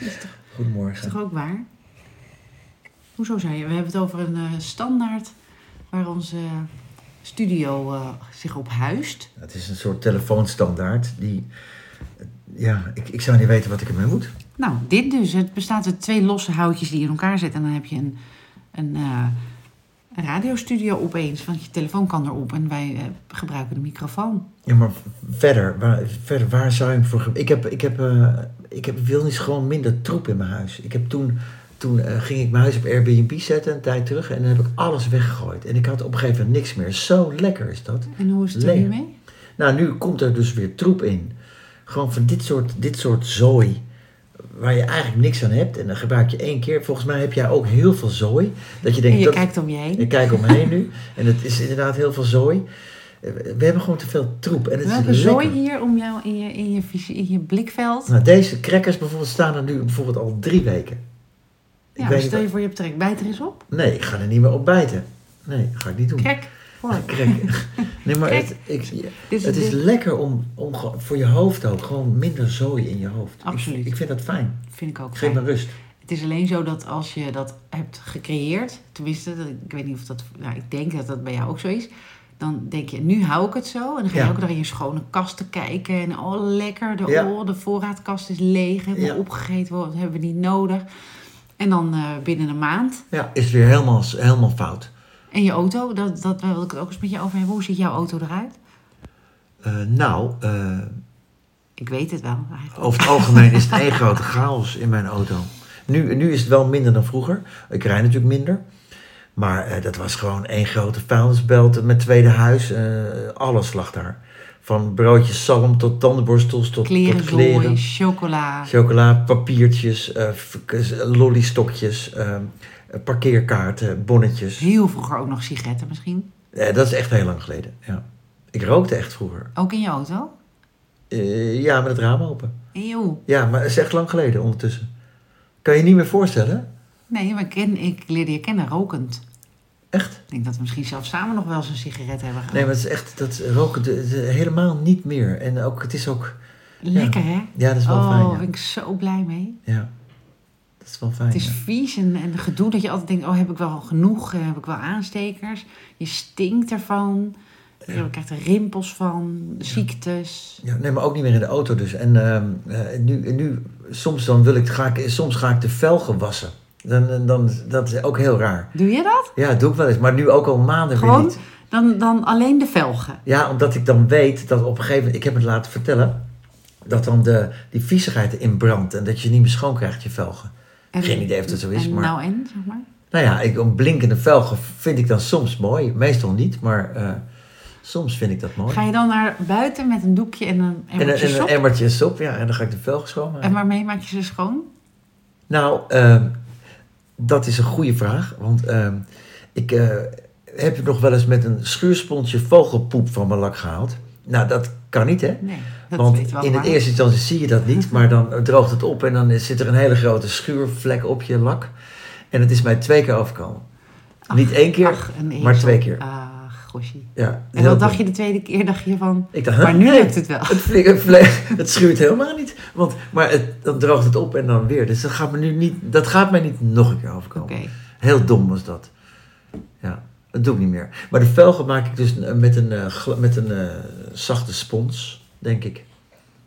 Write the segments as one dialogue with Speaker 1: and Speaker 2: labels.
Speaker 1: Is
Speaker 2: Goedemorgen.
Speaker 1: toch ook waar? Hoezo zei je? We hebben het over een eh, standaard waar onze eh, studio eh, zich op huist.
Speaker 2: Nou, Het is een soort telefoonstandaard die... Ja, ik, ik zou niet weten wat ik ermee moet.
Speaker 1: Nou, dit dus. Het bestaat uit twee losse houtjes die in elkaar zitten. En dan heb je een, een eh, een radiostudio opeens. Want je telefoon kan erop en wij eh, gebruiken de microfoon.
Speaker 2: Ja, maar verder, waar, verder, waar zou je hem voor... ge- Ik heb, ik heb, eh, ik heb wil niet gewoon minder troep in mijn huis. Ik heb toen, toen eh, ging ik mijn huis op Airbnb zetten een tijd terug en dan heb ik alles weggegooid. En ik had op een gegeven moment niks meer. Zo lekker is dat.
Speaker 1: En hoe is het er
Speaker 2: Leeg.
Speaker 1: nu mee?
Speaker 2: Nou, nu komt er dus weer troep in. Gewoon van dit soort, dit soort zooi. Waar je eigenlijk niks aan hebt. En dan gebruik je één keer. Volgens mij heb jij ook heel veel zooi. Dat je denkt,
Speaker 1: en je
Speaker 2: dat,
Speaker 1: kijkt om je heen.
Speaker 2: ik kijk omheen nu. En het is inderdaad heel veel zooi. Eh, We hebben gewoon te veel troep. En het is
Speaker 1: Welke
Speaker 2: lekker.
Speaker 1: zooi hier om jou in je, in je, visie, in je blikveld?
Speaker 2: Nou, deze crackers bijvoorbeeld staan er nu bijvoorbeeld al drie weken.
Speaker 1: Ja,
Speaker 2: weet
Speaker 1: stel
Speaker 2: niet
Speaker 1: je voor je hebt trek. Bijt er eens op.
Speaker 2: wat- Nee, ik ga er niet meer op bijten. Nee, dat ga ik niet doen.
Speaker 1: Krek. Hoi.
Speaker 2: Crack. Nee, maar
Speaker 1: Crack.
Speaker 2: het, ik,
Speaker 1: Dit
Speaker 2: Het is
Speaker 1: dit-
Speaker 2: lekker om, om ge- voor je hoofd ook gewoon minder zooi in je hoofd. Ik-
Speaker 1: Absoluut.
Speaker 2: Ik, vind dat fijn.
Speaker 1: vind ik ook
Speaker 2: Geef
Speaker 1: fijn.
Speaker 2: me rust.
Speaker 1: Het is alleen zo dat als je dat hebt gecreëerd, tenminste, dat- ik weet niet of dat, nou, ik denk dat dat bij jou ook zo is, dan denk je, nu hou ik het zo. En dan ga je
Speaker 2: Ja.
Speaker 1: ook naar je schone kasten kijken. En oh, lekker, de,
Speaker 2: Ja.
Speaker 1: oh, de voorraadkast is leeg, helemaal
Speaker 2: Ja.
Speaker 1: opgegeten, worden, hebben we niet nodig. En dan eh, binnen een maand.
Speaker 2: Ja, is weer helemaal, helemaal fout.
Speaker 1: En je auto, dat, dat wil ik het ook eens met je over hebben. Hoe ziet jouw auto eruit?
Speaker 2: Eh, nou, eh,
Speaker 1: Ik weet het wel eigenlijk.
Speaker 2: over het algemeen is het één grote chaos in mijn auto. Nu, nu is het wel minder dan vroeger. Ik rij natuurlijk minder. Maar eh, dat was gewoon één grote vuilnisbelt. Mijn tweede huis, eh, alles lag daar. Van broodjes zalm tot tandenborstels tot
Speaker 1: Kleren,
Speaker 2: tot kleren.
Speaker 1: zooi, chocola.
Speaker 2: Chocola, papiertjes, eh, f- k- lollystokjes, eh, parkeerkaarten, bonnetjes.
Speaker 1: Heel vroeger ook nog sigaretten misschien.
Speaker 2: Eh, dat is echt heel lang geleden. Ja. Ik rookte echt vroeger.
Speaker 1: Ook in je auto?
Speaker 2: Eh, ja, met het raam open.
Speaker 1: Eeuw.
Speaker 2: Ja, maar het is echt lang geleden ondertussen. Kan je je niet meer voorstellen?
Speaker 1: Nee, maar ik, ken, ik leerde je kennen rokend.
Speaker 2: Echt?
Speaker 1: Ik denk dat we misschien zelfs samen nog wel eens een sigaret hebben gehad.
Speaker 2: Nee, maar het is echt dat roken de- de- helemaal niet meer. En ook, het is ook,
Speaker 1: Lekker hè?
Speaker 2: ja, dat is wel
Speaker 1: oh,
Speaker 2: fijn.
Speaker 1: daar
Speaker 2: ja.
Speaker 1: ben ik zo blij mee.
Speaker 2: Ja, dat is wel fijn.
Speaker 1: Het is
Speaker 2: ja.
Speaker 1: vies en, en gedoe dat je altijd denkt, oh heb ik wel genoeg, Eh, heb ik wel aanstekers. Je stinkt ervan, je krijgt er rimpels van, ziektes.
Speaker 2: Ja, nee, maar ook niet meer in de auto dus. En ehm, eh, nu, en nu, soms dan wil ik, ga ik, eh, soms ga ik de velgen wassen. Dan, dan, dan, dat is ook heel raar.
Speaker 1: Doe je dat?
Speaker 2: Ja, dat doe ik wel eens, maar nu ook al maanden weer
Speaker 1: Gewoon
Speaker 2: niet.
Speaker 1: dan, dan alleen de velgen.
Speaker 2: Ja, omdat ik dan weet dat op een gegeven moment, ik heb het laten vertellen, dat dan de, die viezigheid erin brandt en dat je niet meer schoon krijgt, je velgen.
Speaker 1: En-
Speaker 2: Geen idee of dat zo is,
Speaker 1: en
Speaker 2: maar-
Speaker 1: Nou en, zeg maar.
Speaker 2: Nou ja, ik, een blinkende velgen vind ik dan soms mooi, meestal niet, maar eh, soms vind ik dat mooi.
Speaker 1: Ga je dan naar buiten met een doekje en een
Speaker 2: en, een-
Speaker 1: emmertje
Speaker 2: en een
Speaker 1: sop?
Speaker 2: emmertje sop, ja, en dan ga ik de velgen
Speaker 1: En
Speaker 2: schoonmaken.
Speaker 1: waarmee maak je ze schoon?
Speaker 2: Nou, ehm, dat is een goede vraag, want ehm, ik eh, heb het nog wel eens met een schuursponsje vogelpoep van mijn lak gehaald. Nou, dat kan niet, hè?
Speaker 1: Nee, dat
Speaker 2: Want
Speaker 1: weet wel
Speaker 2: in het
Speaker 1: waar.
Speaker 2: eerste instantie zie je dat niet, maar dan droogt het op en dan zit er een hele grote schuurvlek op je lak. En het is mij twee keer overkomen. niet één keer,
Speaker 1: Ach, een
Speaker 2: Ah, maar
Speaker 1: ezel.
Speaker 2: twee keer.
Speaker 1: Ach, goshie.
Speaker 2: Ja,
Speaker 1: En
Speaker 2: heel
Speaker 1: dan dacht
Speaker 2: dom.
Speaker 1: je de tweede keer, dacht je van,
Speaker 2: Ik dacht,
Speaker 1: maar
Speaker 2: huh?
Speaker 1: nu
Speaker 2: Nee,
Speaker 1: lukt het wel.
Speaker 2: het, vle- het, vle- het schuurt helemaal niet. Want, maar het, dan droogt het op en dan weer. Dus dat gaat, me nu niet, dat gaat mij niet nog een keer overkomen.
Speaker 1: Oké.
Speaker 2: Heel dom was dat. Ja, dat doe ik niet meer. Maar de velgen maak ik dus eh, met een, eh, gla- met een eh, zachte spons, denk ik. Ik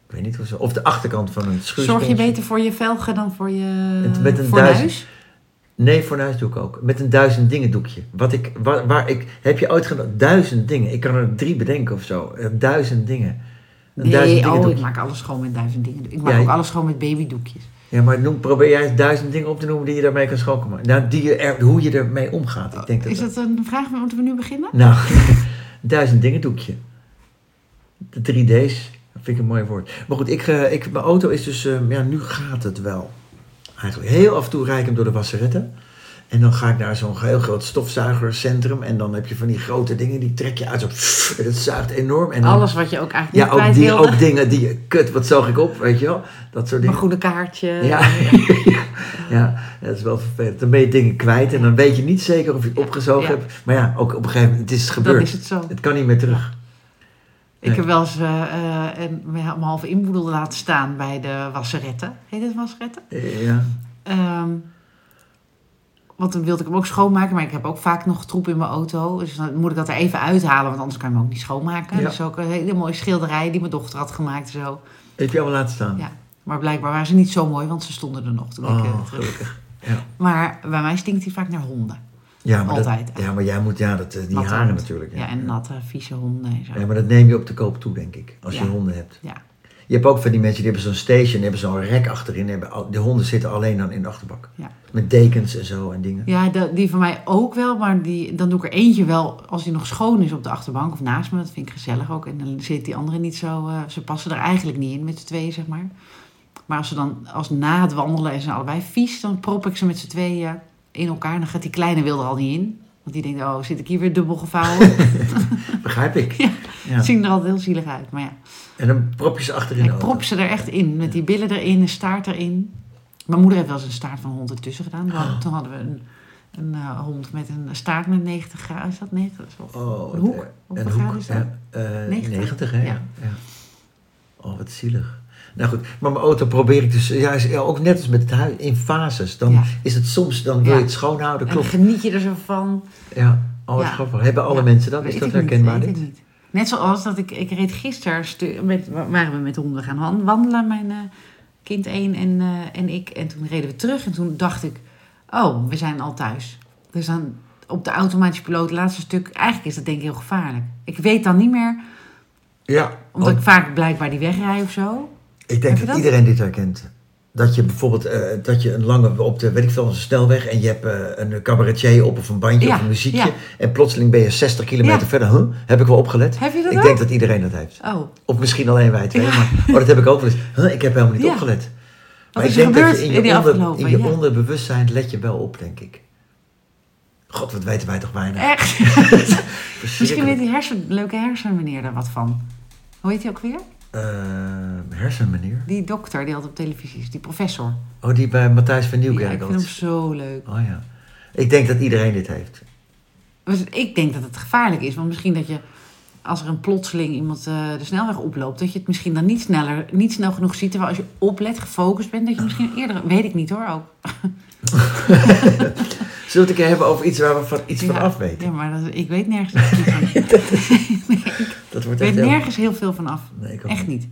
Speaker 2: weet niet hoe ze... Of de achterkant van een schuurspons.
Speaker 1: Zorg je beter voor je velgen dan voor je
Speaker 2: Het- met een
Speaker 1: fornuis?
Speaker 2: duizend- Nee, fornuis doe ik ook. Met een duizend dingen doekje. Wat ik, waar, waar ik, heb je ooit gedaan? Duizend dingen. Ik kan er drie bedenken of zo. Eh, Duizend dingen. Een duizend
Speaker 1: Nee,
Speaker 2: dingen
Speaker 1: oh, ik
Speaker 2: doekje.
Speaker 1: maak alles schoon met duizend dingen. Ik maak
Speaker 2: Ja,
Speaker 1: ook
Speaker 2: je-
Speaker 1: alles schoon met babydoekjes.
Speaker 2: Ja, maar noem, probeer jij duizend dingen op te noemen die je daarmee kan schoonmaken. Nou, die je er, hoe je ermee omgaat. Ik denk dat,
Speaker 1: Is dat een vraag? Moeten we nu beginnen?
Speaker 2: Nou, duizend dingen doekje. De 3D's. Dat vind ik een mooi woord. Maar goed, ik, eh, ik, mijn auto is dus... eh, ja, nu gaat het wel. Eigenlijk heel af en toe rijd ik hem door de wasseretten. En dan ga ik naar zo'n heel groot stofzuigercentrum. En dan heb je van die grote dingen, die trek je uit. Zo, pff, en dat zuigt enorm. En dan-
Speaker 1: Alles wat je ook eigenlijk
Speaker 2: Ja,
Speaker 1: niet kwijt
Speaker 2: ook, die,
Speaker 1: wilde.
Speaker 2: ook dingen die... je- Kut, wat zoog ik op, weet je wel? Dat soort
Speaker 1: Een
Speaker 2: dingen.
Speaker 1: goede kaartje.
Speaker 2: Ja,
Speaker 1: Eh,
Speaker 2: ja, dat is wel vervelend. Dan ben je dingen kwijt en dan weet je niet zeker of je het opgezogen
Speaker 1: Ja.
Speaker 2: hebt. Maar ja, ook op een gegeven moment, het is
Speaker 1: Dan
Speaker 2: gebeurd.
Speaker 1: is het zo.
Speaker 2: Het kan niet meer terug.
Speaker 1: Ik
Speaker 2: Nee.
Speaker 1: heb wel eens eh, eh, een, mijn halve inboedel laten staan bij de wasseretten. Heet het wasseretten?
Speaker 2: Eh, Ja.
Speaker 1: Ehm, want dan wilde ik hem ook schoonmaken, maar ik heb ook vaak nog troep in mijn auto. Dus dan moet ik dat er even uithalen, want anders kan ik hem ook niet schoonmaken.
Speaker 2: Ja.
Speaker 1: Dat is ook een hele mooie schilderij die mijn dochter had gemaakt en zo.
Speaker 2: Heb je allemaal laten staan?
Speaker 1: Ja. Maar blijkbaar waren ze niet zo mooi, want ze stonden er nog toen ik eh,
Speaker 2: Oh,
Speaker 1: terug.
Speaker 2: gelukkig. Ja,
Speaker 1: Maar bij mij stinkt hij vaak naar honden.
Speaker 2: ja maar, dat-
Speaker 1: Altijd.
Speaker 2: ja, maar jij moet, ja, dat, eh, die
Speaker 1: Natte
Speaker 2: haren
Speaker 1: hond.
Speaker 2: natuurlijk.
Speaker 1: Ja, en natte, vieze honden en zo.
Speaker 2: Ja, maar dat neem je op de koop toe, denk ik. Als je
Speaker 1: Ja.
Speaker 2: honden hebt.
Speaker 1: Ja.
Speaker 2: Je hebt ook van die mensen die hebben zo'n station, die hebben zo'n rek achterin. Hebben, al- de honden zitten alleen dan in de achterbak.
Speaker 1: Ja.
Speaker 2: Met dekens en zo en dingen.
Speaker 1: Ja, de- die van mij ook wel, maar die, dan doe ik er eentje wel als die nog schoon is op de achterbank of naast me. Dat vind ik gezellig ook. En dan zit die andere niet zo. eh, ze passen er eigenlijk niet in met z'n tweeën, zeg maar. Maar als ze dan als na het wandelen en ze allebei vies, dan prop ik ze met z'n tweeën in elkaar. En dan gaat die kleine wil er al niet in. Want die denkt, oh, zit ik hier weer dubbel gevouwen?
Speaker 2: Begrijp ik.
Speaker 1: Ja.
Speaker 2: Ja.
Speaker 1: Zien er altijd heel zielig uit. Maar ja,
Speaker 2: En dan prop je ze achterin de
Speaker 1: ik
Speaker 2: auto.
Speaker 1: prop ze er echt in. Met die billen erin, een staart erin. Mijn moeder heeft wel eens een staart van een hond ertussen gedaan. Toen
Speaker 2: Ah.
Speaker 1: hadden- Toen hadden we een, een eh, hond met een staart met 90 graden. Is dat 90? Dat is wel-
Speaker 2: Oh,
Speaker 1: Een
Speaker 2: wat
Speaker 1: hoek.
Speaker 2: erg.
Speaker 1: Hoeveel
Speaker 2: Een
Speaker 1: graden
Speaker 2: hoek.
Speaker 1: is dat?
Speaker 2: Ja, eh,
Speaker 1: 90.
Speaker 2: 90, hè? Ja.
Speaker 1: Ja.
Speaker 2: ja. Oh, wat zielig. Nou goed, maar mijn auto probeer ik dus... Ja, is- ja, ook net als met het huis, in fases. Dan
Speaker 1: Ja.
Speaker 2: is het soms, dan wil
Speaker 1: Ja.
Speaker 2: je het schoonhouden,
Speaker 1: En dan
Speaker 2: klopt.
Speaker 1: geniet je er zo van.
Speaker 2: Ja, oh, wat
Speaker 1: Ja.
Speaker 2: grappig. Hebben alle
Speaker 1: Ja,
Speaker 2: mensen dat? Is
Speaker 1: Weet
Speaker 2: dat
Speaker 1: ik niet,
Speaker 2: herkenbaar
Speaker 1: weet
Speaker 2: niet?
Speaker 1: ik niet. Net zoals dat ik, ik reed gisteren, stu- met, waren we met honden gaan wan- wandelen, mijn eh, kind 1 en, eh, en ik. En toen reden we terug en toen dacht ik, oh, we zijn al thuis. Dus dan op de automatische piloot, laatste stuk, eigenlijk is dat denk ik heel gevaarlijk. Ik weet dan niet meer,
Speaker 2: Ja,
Speaker 1: omdat
Speaker 2: want
Speaker 1: ik vaak blijkbaar die wegrij of zo.
Speaker 2: ik
Speaker 1: Heb
Speaker 2: denk
Speaker 1: je
Speaker 2: dat,
Speaker 1: dat?
Speaker 2: iedereen dit herkent. Dat je bijvoorbeeld, eh, dat je een lange, op de, weet ik veel, een snelweg... en je hebt eh, een cabaretier op of een bandje
Speaker 1: Ja,
Speaker 2: of een muziekje...
Speaker 1: ja.
Speaker 2: en plotseling ben je 60 kilometer
Speaker 1: Ja.
Speaker 2: verder. Huh? Heb ik wel opgelet?
Speaker 1: Heb je dat
Speaker 2: ik
Speaker 1: ook?
Speaker 2: denk dat iedereen dat heeft.
Speaker 1: Oh,
Speaker 2: Of misschien alleen wij twee.
Speaker 1: Ja.
Speaker 2: Maar, oh, dat heb ik ook wel eens. Huh, ik heb helemaal niet
Speaker 1: Ja.
Speaker 2: opgelet.
Speaker 1: is
Speaker 2: ik
Speaker 1: er
Speaker 2: denk dat je
Speaker 1: gebeurd
Speaker 2: in
Speaker 1: in die
Speaker 2: je, onder,
Speaker 1: afgelopen,
Speaker 2: in je
Speaker 1: ja.
Speaker 2: onderbewustzijn let je wel op, denk ik. God, wat weten wij toch weinig.
Speaker 1: echt? Eh, Misschien weet
Speaker 2: Verschrikkelijk.
Speaker 1: die hersen, leuke hersenmeneer daar wat van. Hoe heet hij ook weer?
Speaker 2: Eh, hersenmeneer.
Speaker 1: Die dokter die altijd op televisie is, die professor.
Speaker 2: Oh, die bij Matthijs van
Speaker 1: Ja, ik
Speaker 2: Nieuwkerk.
Speaker 1: vind
Speaker 2: altijd-
Speaker 1: hem zo leuk.
Speaker 2: Oh ja. Ik denk dat iedereen dit heeft.
Speaker 1: Dus ik denk dat het gevaarlijk is. Want misschien dat je, als er een plotseling iemand eh, de snelweg oploopt, dat je het misschien dan niet, sneller, niet snel genoeg ziet. Terwijl als je oplet, gefocust bent, dat je misschien eerder. Weet ik niet hoor ook.
Speaker 2: Zullen we het een keer hebben over iets waar we van, iets van
Speaker 1: Ja,
Speaker 2: af weten?
Speaker 1: Ja, maar dat, ik weet nergens. iets van. Nee, ik
Speaker 2: Dat wordt
Speaker 1: weet
Speaker 2: echt heel...
Speaker 1: nergens heel veel van af.
Speaker 2: Nee, ik ook
Speaker 1: Echt niet.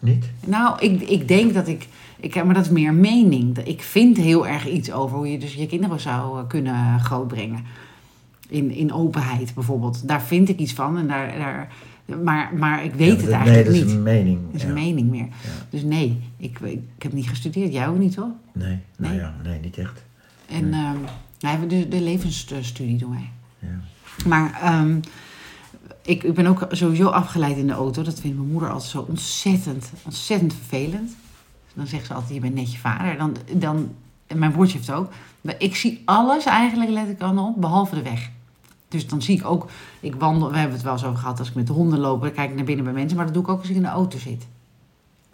Speaker 2: Niet?
Speaker 1: Nou, ik, ik denk dat ik, ik. Maar dat is meer mening. Dat- Ik vind heel erg iets over hoe je dus je kinderen zou eh, kunnen grootbrengen. In, in openheid bijvoorbeeld. Daar vind ik iets van. En daar, daar, maar, maar ik weet
Speaker 2: Ja,
Speaker 1: het
Speaker 2: dat-
Speaker 1: eigenlijk
Speaker 2: Nee, dat
Speaker 1: niet.
Speaker 2: is een mening.
Speaker 1: Dat is
Speaker 2: ja.
Speaker 1: een mening meer.
Speaker 2: Ja.
Speaker 1: Dus nee, ik, ik, ik heb niet gestudeerd. Jij ook niet, hoor.
Speaker 2: Nee, nou
Speaker 1: Nee.
Speaker 2: ja, nee, niet echt.
Speaker 1: En ehm nou, we- de, de levensstudie doen wij.
Speaker 2: Ja.
Speaker 1: Maar ehm, ik, ik ben ook sowieso afgeleid in de auto. Dat vindt mijn moeder altijd zo ontzettend, ontzettend vervelend. Dan zegt ze altijd, je bent net je vader. Dan, dan, en mijn broertje heeft het ook. Maar Ik zie alles eigenlijk, let ik dan op, behalve de weg. Dus dan zie ik ook, ik wandel, we hebben het wel eens over gehad, als ik met de honden loop, dan kijk ik naar binnen bij mensen, maar dat doe ik ook als ik in de auto zit.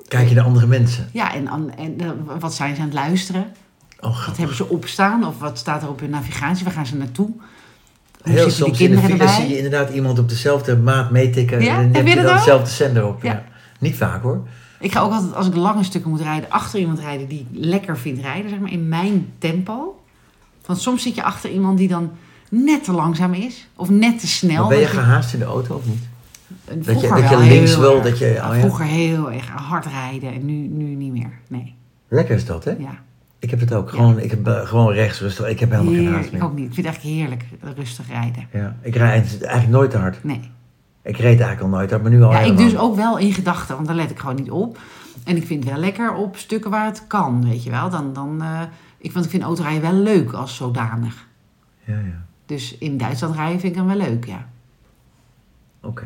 Speaker 2: Kijk je naar andere mensen?
Speaker 1: Ja, en, an- en eh, wat zijn ze aan het luisteren?
Speaker 2: Oh,
Speaker 1: Wat
Speaker 2: grappig.
Speaker 1: hebben ze opstaan? Of wat staat er op hun navigatie? Waar gaan ze naartoe?
Speaker 2: Heel
Speaker 1: Hoe zitten die
Speaker 2: soms in de
Speaker 1: kinderen
Speaker 2: file zie
Speaker 1: erbij?
Speaker 2: je inderdaad iemand op dezelfde maat meetikken.
Speaker 1: Ja?
Speaker 2: En dan
Speaker 1: Heb
Speaker 2: heb
Speaker 1: je
Speaker 2: je
Speaker 1: dat
Speaker 2: dan
Speaker 1: ook?
Speaker 2: dezelfde zender op. Ja.
Speaker 1: Ja.
Speaker 2: Niet vaak hoor.
Speaker 1: Ik ga ook altijd, als ik lange stukken moet rijden, achter iemand rijden die ik lekker vindt rijden, zeg maar, in mijn tempo. Want soms zit je achter iemand die dan net te langzaam is, of net te snel.
Speaker 2: maar ben je
Speaker 1: Want ik-
Speaker 2: gehaast in de auto of niet?
Speaker 1: en
Speaker 2: dat je-
Speaker 1: vroeger
Speaker 2: dat je
Speaker 1: wel
Speaker 2: links
Speaker 1: heel
Speaker 2: wil,
Speaker 1: erg.
Speaker 2: dat je-
Speaker 1: Ja,
Speaker 2: oh ja.
Speaker 1: Vroeger heel erg hard rijden en nu, nu niet meer. Nee.
Speaker 2: Lekker is dat, hè?
Speaker 1: Ja.
Speaker 2: Ik heb het ook. Gewoon, ik heb, eh, gewoon rechts rustig. Ik heb helemaal geen haast
Speaker 1: Heerlijk. Ik
Speaker 2: meer.
Speaker 1: ook niet. Ik vind het eigenlijk heerlijk rustig rijden.
Speaker 2: Ja. Ik rijd eigenlijk nooit te hard.
Speaker 1: Nee.
Speaker 2: Ik reed eigenlijk al nooit te hard, maar nu al
Speaker 1: Ja, ik
Speaker 2: helemaal.
Speaker 1: dus ook wel in gedachten, want daar let ik gewoon niet op. En ik vind wel lekker op stukken waar het kan, weet je wel. Dan, dan, eh, ik, want ik vind autorijden wel leuk als zodanig.
Speaker 2: Ja, ja.
Speaker 1: Dus in Duitsland rijden vind ik hem wel leuk, ja.
Speaker 2: Oké.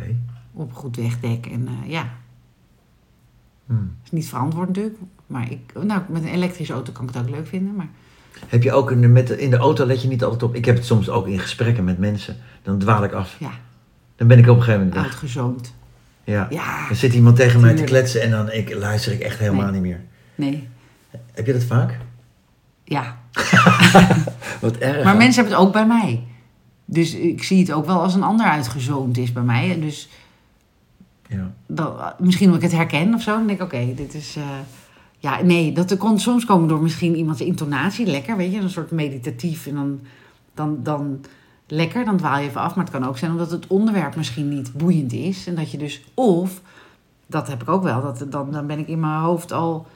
Speaker 1: Op een goed wegdek en eh, ja.
Speaker 2: Hmm.
Speaker 1: Is niet verantwoord natuurlijk. Maar ik, nou, met een elektrische auto kan ik het ook leuk vinden. Maar
Speaker 2: Heb je ook in, met, in de auto let je niet altijd op? Ik heb het soms ook in gesprekken met mensen. Dan dwaal ik af.
Speaker 1: ja,
Speaker 2: Dan ben ik op een gegeven moment weg.
Speaker 1: uitgezoomd.
Speaker 2: Ja.
Speaker 1: Ja,
Speaker 2: Dan zit iemand tegen mij te
Speaker 1: Tuurlijk.
Speaker 2: kletsen en dan ik, luister ik echt helemaal
Speaker 1: Nee.
Speaker 2: niet meer.
Speaker 1: nee,
Speaker 2: Heb je dat vaak?
Speaker 1: ja.
Speaker 2: Wat erg.
Speaker 1: Maar
Speaker 2: hè?
Speaker 1: mensen hebben het ook bij mij. Dus ik zie het ook wel als een ander uitgezoomd is bij mij. En Dus
Speaker 2: Ja.
Speaker 1: dan, misschien omdat ik het herken of zo. Dan denk ik, oké, dit is... eh, ja, nee, dat kon soms komen door misschien iemands intonatie. Lekker, weet je, een soort meditatief. En dan, dan, dan lekker, dan dwaal je even af. Maar het kan ook zijn omdat het onderwerp misschien niet boeiend is. En dat je dus... Of, dat heb ik ook wel, dat, dan, dan ben ik in mijn hoofd al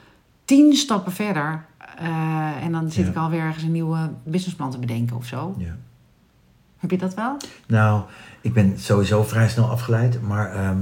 Speaker 1: tien stappen verder. eh, en dan zit
Speaker 2: Ja.
Speaker 1: ik alweer ergens een nieuwe businessplan te bedenken of zo.
Speaker 2: ja.
Speaker 1: Heb je dat wel?
Speaker 2: Nou, ik ben sowieso vrij snel afgeleid, maar ehm,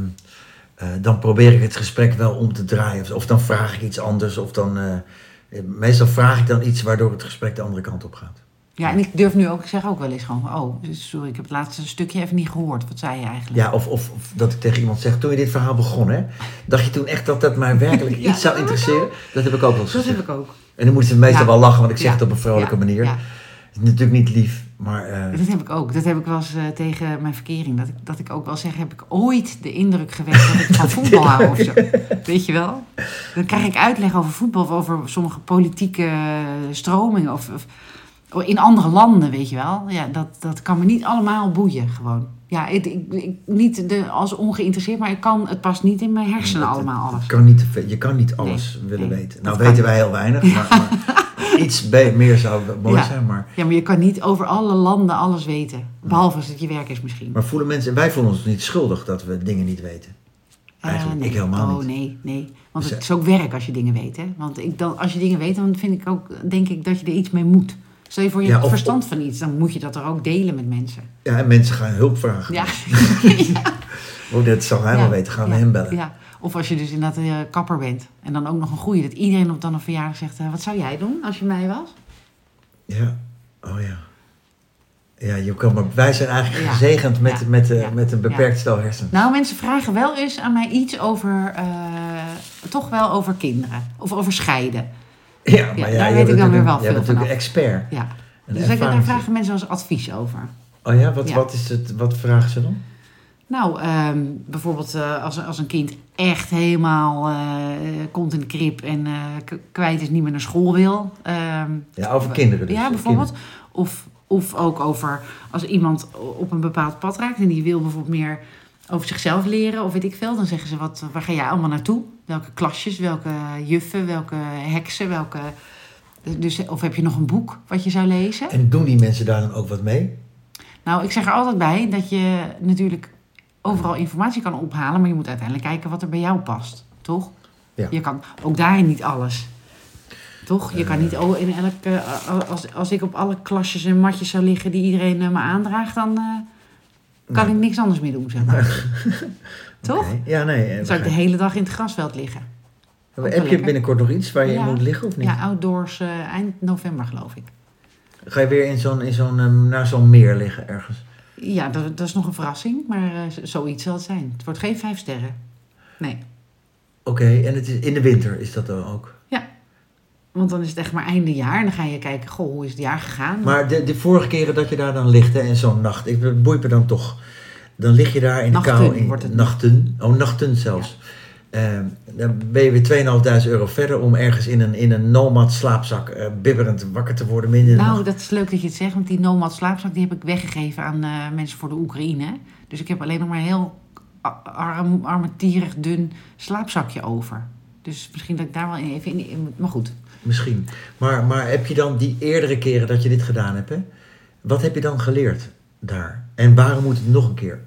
Speaker 2: eh, dan probeer ik het gesprek wel om te draaien. Of, of dan vraag ik iets anders, of dan. eh, eh, meestal vraag ik dan iets waardoor het gesprek de andere kant op gaat.
Speaker 1: Ja, en ik durf nu ook, ik zeg ook wel eens gewoon, oh, sorry, ik heb het laatste stukje even niet gehoord. Wat zei je eigenlijk?
Speaker 2: Ja, of, of, of dat ik tegen iemand zeg, toen je dit verhaal begon, hè, dacht je toen echt dat dat mij werkelijk
Speaker 1: Ja.
Speaker 2: iets zou interesseren? Dat heb ik ook wel eens
Speaker 1: dat heb
Speaker 2: gezegd.
Speaker 1: ik ook.
Speaker 2: En dan moeten ze meestal
Speaker 1: Ja.
Speaker 2: wel lachen, want ik zeg
Speaker 1: Ja.
Speaker 2: het op een vrolijke
Speaker 1: Ja.
Speaker 2: manier.
Speaker 1: Ja.
Speaker 2: Het is natuurlijk niet lief, maar eh,
Speaker 1: Dat heb ik ook. Dat heb ik wel eens eh, tegen mijn verkering. Dat ik, dat ik ook wel zeg, heb ik ooit de indruk gewekt dat ik van voetbal hou of zo. Weet je wel? Dan krijg ik uitleg over voetbal of over sommige politieke eh, stromingen. Of, of oh, in andere landen, weet je wel. Ja, dat, dat kan me niet allemaal boeien gewoon. Ja, ik, ik, ik- niet de, als ongeïnteresseerd, maar ik kan, het past niet in mijn hersenen
Speaker 2: Het-
Speaker 1: allemaal
Speaker 2: het
Speaker 1: alles.
Speaker 2: Kan niet te veel- Mm, je kan niet alles
Speaker 1: Nee,
Speaker 2: willen
Speaker 1: nee,
Speaker 2: weten.
Speaker 1: dat
Speaker 2: Nou
Speaker 1: kan
Speaker 2: weten
Speaker 1: niet.
Speaker 2: wij heel weinig, maar, maar iets be- meer zou mooi
Speaker 1: Ja.
Speaker 2: zijn. Maar,
Speaker 1: Ja, maar je kan niet over alle landen alles weten. Behalve als het je werk is misschien.
Speaker 2: maar voelen mensen, wij voelen ons niet schuldig dat we dingen niet weten. Eigenlijk,
Speaker 1: Eh, nee.
Speaker 2: ik helemaal
Speaker 1: oh,
Speaker 2: niet.
Speaker 1: nee, nee. Want
Speaker 2: Dus,
Speaker 1: het is ook werk als je dingen weet, hè. Want ik dan, als je dingen weet, dan vind ik ook, denk ik dat je er iets mee moet. Stel je voor, je
Speaker 2: Ja,
Speaker 1: hebt
Speaker 2: of-
Speaker 1: verstand van iets. Dan moet je dat er ook delen met mensen.
Speaker 2: Ja, en mensen gaan hulp vragen.
Speaker 1: Ja.
Speaker 2: Oh, dat zal hij wel weten, gaan we
Speaker 1: Ja,
Speaker 2: hem bellen.
Speaker 1: Ja. Of als je dus inderdaad eh kapper bent. En dan ook nog een goeie. Dat iedereen op dan een verjaardag zegt, eh, wat zou jij doen als je mij was?
Speaker 2: Ja, oh ja. Ja, je kan maar, wij zijn eigenlijk
Speaker 1: Ja.
Speaker 2: gezegend met,
Speaker 1: Ja.
Speaker 2: met, eh,
Speaker 1: Ja.
Speaker 2: met een beperkt stel hersenen.
Speaker 1: Nou, mensen vragen wel eens aan mij iets over, eh, toch wel over kinderen. Of over scheiden.
Speaker 2: Ja, maar ja,
Speaker 1: daar
Speaker 2: je
Speaker 1: weet
Speaker 2: hebt
Speaker 1: ik dan
Speaker 2: natuurlijk
Speaker 1: weer
Speaker 2: een-
Speaker 1: wel
Speaker 2: Je
Speaker 1: veel
Speaker 2: bent natuurlijk
Speaker 1: vanaf.
Speaker 2: een expert.
Speaker 1: Ja.
Speaker 2: Een
Speaker 1: dus ik, daar
Speaker 2: ervarings-
Speaker 1: vragen mensen als advies over.
Speaker 2: Oh ja, wat,
Speaker 1: Ja.
Speaker 2: Wat, is het, wat vragen ze dan?
Speaker 1: Nou, ehm, bijvoorbeeld eh, als, als een kind echt helemaal eh, komt in de krip en eh, k- kwijt is, niet meer naar school wil. ehm,
Speaker 2: Ja, over kinderen dus.
Speaker 1: ja,
Speaker 2: over
Speaker 1: bijvoorbeeld. Of, of ook over als iemand op een bepaald pad raakt en die wil bijvoorbeeld meer over zichzelf leren of weet ik veel. Dan zeggen ze, wat, waar ga jij allemaal naartoe? Welke klasjes, welke juffen, welke heksen, welke... Dus, of heb je nog een boek wat je zou lezen?
Speaker 2: En doen die mensen daar dan ook wat mee?
Speaker 1: Nou, ik zeg er altijd bij dat je natuurlijk overal informatie kan ophalen, maar je moet uiteindelijk kijken wat er bij jou past, toch?
Speaker 2: Ja.
Speaker 1: Je kan ook daarin niet alles. Toch? Je kan niet oh, in elk, eh, als, als ik op alle klasjes en matjes zou liggen die iedereen eh, me aandraagt, dan eh, kan
Speaker 2: Nee.
Speaker 1: ik niks anders meer doen, zeg maar. toch?
Speaker 2: Oké. Ja, nee. eh,
Speaker 1: Dan zou ik de hele dag in het grasveld liggen.
Speaker 2: Maar Heb je
Speaker 1: lekker.
Speaker 2: binnenkort nog iets waar je
Speaker 1: Ja.
Speaker 2: in moet liggen of niet?
Speaker 1: Ja, outdoors eh, eind november, geloof ik.
Speaker 2: Ga je weer in zo'n, in zo'n, ehm, naar zo'n meer liggen ergens?
Speaker 1: Ja, dat, dat is nog een verrassing, maar eh, z- zoiets zal het zijn. Het wordt geen vijf sterren. Nee.
Speaker 2: Oké, en het is, in de winter is dat dan ook.
Speaker 1: Want dan is het echt maar einde jaar. En dan ga je kijken, goh, hoe is het jaar gegaan?
Speaker 2: Maar de, de vorige keren dat je daar dan ligt hè, in zo'n nacht, ik, dat boeit me dan toch. Dan lig je daar in de
Speaker 1: Nachten
Speaker 2: kou. In,
Speaker 1: wordt het.
Speaker 2: Nachten, oh nachten zelfs. Ehm, dan ben je weer 2.500 euro verder om ergens in een, in een nomad slaapzak eh, bibberend wakker te worden midden in de
Speaker 1: nou,
Speaker 2: nacht.
Speaker 1: dat is leuk dat je het zegt. Want die Nomad slaapzak die heb ik weggegeven aan eh, mensen voor de Oekraïne. Dus ik heb alleen nog maar een heel a- arm, armetierig dun slaapzakje over. Dus misschien dat ik daar wel in- even in... in- maar goed.
Speaker 2: Misschien. Maar, maar heb je dan die eerdere keren dat je dit gedaan hebt, hè? wat heb je dan geleerd daar? En waarom moet het nog een keer?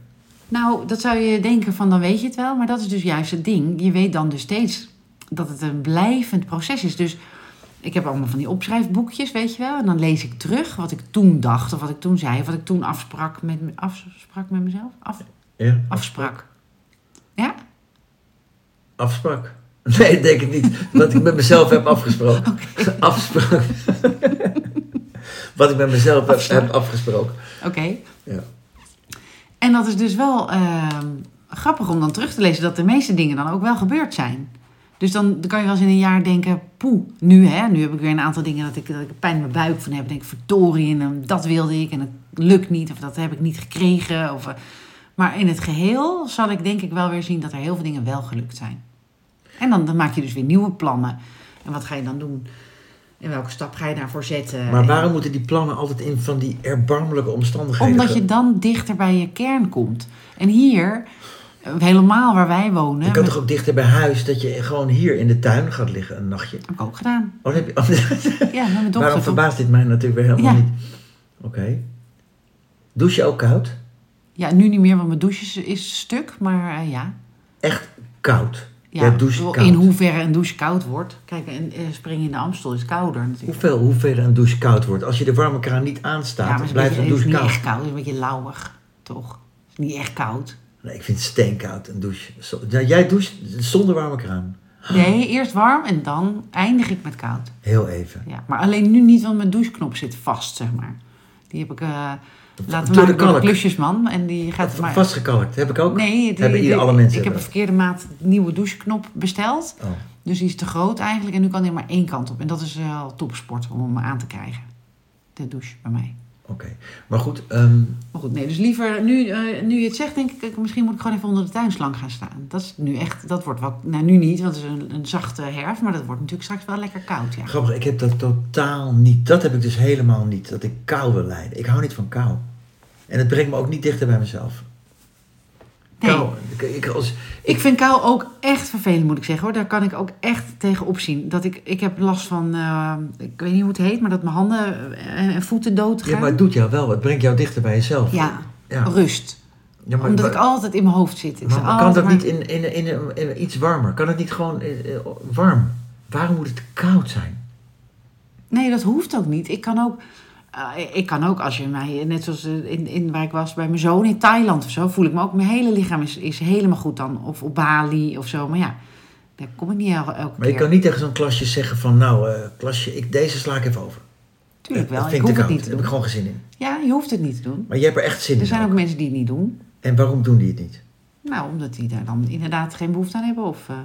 Speaker 1: Nou, dat zou je denken van dan weet je het wel. Maar dat is dus juist het ding. Je weet dan dus steeds dat het een blijvend proces is. Dus ik heb allemaal van die opschrijfboekjes, weet je wel. En dan lees ik terug wat ik toen dacht of wat ik toen zei. Of wat ik toen afsprak met, me- afsprak met mezelf. Af,
Speaker 2: Ja.
Speaker 1: afsprak. Ja?
Speaker 2: Afsprak. Nee, ik denk het niet. Wat ik met mezelf heb afgesproken. Afsprak. Wat ik met mezelf heb,
Speaker 1: Afsprak.
Speaker 2: heb afgesproken.
Speaker 1: Oké.
Speaker 2: Ja.
Speaker 1: En dat is dus wel ehm, grappig om dan terug te lezen dat de meeste dingen dan ook wel gebeurd zijn. Dus dan kan je wel eens in een jaar denken, poeh, nu hè, nu heb ik weer een aantal dingen dat ik, dat ik pijn in mijn buik van heb. Denk ik, verdorie, en ehm, dat wilde ik en dat lukt niet of dat heb ik niet gekregen. Of, eh, maar in het geheel zal ik denk ik wel weer zien dat er heel veel dingen wel gelukt zijn. En dan, dan maak je dus weer nieuwe plannen. En wat ga je dan doen? En welke stap ga je daarvoor zetten?
Speaker 2: Maar
Speaker 1: En-
Speaker 2: waarom moeten die plannen altijd in van die erbarmelijke omstandigheden?
Speaker 1: omdat je dan dichter bij je kern komt. En hier eh, Helemaal waar wij wonen.
Speaker 2: Je kan
Speaker 1: met-
Speaker 2: toch ook dichter bij huis dat je gewoon hier in de tuin gaat liggen een nachtje?
Speaker 1: heb ik ook gedaan.
Speaker 2: Oh, dat heb je, oh,
Speaker 1: Ja, met mijn dochter.
Speaker 2: waarom
Speaker 1: toen-
Speaker 2: verbaast dit mij natuurlijk weer helemaal
Speaker 1: Ja.
Speaker 2: niet? Oké. Douche je ook koud?
Speaker 1: Ja, nu niet meer, want mijn douche is, is stuk. Maar eh, ja.
Speaker 2: Echt koud?
Speaker 1: ja
Speaker 2: Jij doucht koud.
Speaker 1: In hoeverre een douche koud wordt. Kijk, en, eh, springen in de Amstel is kouder natuurlijk.
Speaker 2: Hoeveel, hoeveel een douche koud wordt? Als je de warme kraan niet aanstaat,
Speaker 1: ja,
Speaker 2: dan
Speaker 1: het
Speaker 2: blijft
Speaker 1: is
Speaker 2: een
Speaker 1: niet
Speaker 2: douche koud.
Speaker 1: echt koud. Het is een beetje lauwig, toch? Het is Niet echt koud.
Speaker 2: Nee, ik vind het steenkoud, een douche. Zo- Ja, jij doucht zonder warme kraan.
Speaker 1: Nee, eerst warm en dan eindig ik met koud.
Speaker 2: Heel even.
Speaker 1: Ja, maar alleen nu niet, want mijn doucheknop zit vast, zeg maar. Die heb ik eh, laten
Speaker 2: de
Speaker 1: maken door de
Speaker 2: kalk.
Speaker 1: klusjesman. En die gaat maar...
Speaker 2: Vastgekalkt, heb ik ook.
Speaker 1: Nee, die-
Speaker 2: hebben
Speaker 1: die-
Speaker 2: ieder, alle mensen
Speaker 1: ik heb een
Speaker 2: hebben
Speaker 1: verkeerde maat nieuwe doucheknop besteld.
Speaker 2: dat. Oh.
Speaker 1: Dus die is te groot eigenlijk. En nu kan hij maar één kant op. En dat is eh, al topsport om hem aan te krijgen. De douche bij mij.
Speaker 2: Oké, maar goed. ehm,
Speaker 1: Maar goed, nee, dus liever nu, eh, nu je het zegt, denk ik, ik, misschien moet ik gewoon even onder de tuinslang gaan staan. Dat is nu echt, dat wordt wel, nou nu niet, want het is een, een zachte herfst, maar dat wordt natuurlijk straks wel lekker koud, ja.
Speaker 2: grappig, ik heb dat totaal niet. Dat heb ik dus helemaal niet. Dat ik kou wil lijden. Ik hou niet van kou. En het brengt me ook niet dichter bij mezelf.
Speaker 1: Nee.
Speaker 2: Kou. Ik, ik, als,
Speaker 1: Ik vind kou ook echt vervelend, moet ik zeggen hoor. Daar kan ik ook echt tegen opzien. Dat ik, ik heb last van, eh, ik weet niet hoe het heet, maar dat mijn handen eh, en, en voeten dood gaan.
Speaker 2: ja, maar het doet jou wel. Het brengt jou dichter bij jezelf.
Speaker 1: Ja,
Speaker 2: Ja.
Speaker 1: rust.
Speaker 2: Ja, maar,
Speaker 1: Omdat
Speaker 2: maar-
Speaker 1: ik altijd in mijn hoofd zit. Ik
Speaker 2: maar
Speaker 1: zeg altijd
Speaker 2: kan dat
Speaker 1: maar-
Speaker 2: niet in, in, in, in, in iets warmer? Kan het niet gewoon eh, eh, warm? Waarom moet het koud zijn?
Speaker 1: Nee, dat hoeft ook niet. Ik kan ook, eh, ik kan ook als je mij, net zoals eh, in, in waar ik was bij mijn zoon in Thailand of zo, voel ik me ook. Mijn hele lichaam is, is helemaal goed dan. Of op Bali of zo. Maar ja, daar kom ik niet el- elke
Speaker 2: Maar je
Speaker 1: keer.
Speaker 2: kan niet tegen zo'n klasje zeggen van... Nou, eh, klasje, ik, deze sla ik even over.
Speaker 1: Tuurlijk wel.
Speaker 2: Dat
Speaker 1: Ik
Speaker 2: vind
Speaker 1: hoef
Speaker 2: ik te
Speaker 1: het
Speaker 2: koud.
Speaker 1: niet te
Speaker 2: Daar heb ik
Speaker 1: doen.
Speaker 2: gewoon geen zin in.
Speaker 1: Ja, je hoeft het niet te doen.
Speaker 2: Maar je hebt er echt zin
Speaker 1: Er
Speaker 2: in.
Speaker 1: zijn ook
Speaker 2: ook.
Speaker 1: mensen die het niet doen.
Speaker 2: En waarom doen die het niet?
Speaker 1: Nou, omdat die daar dan inderdaad geen behoefte aan hebben. Of, eh,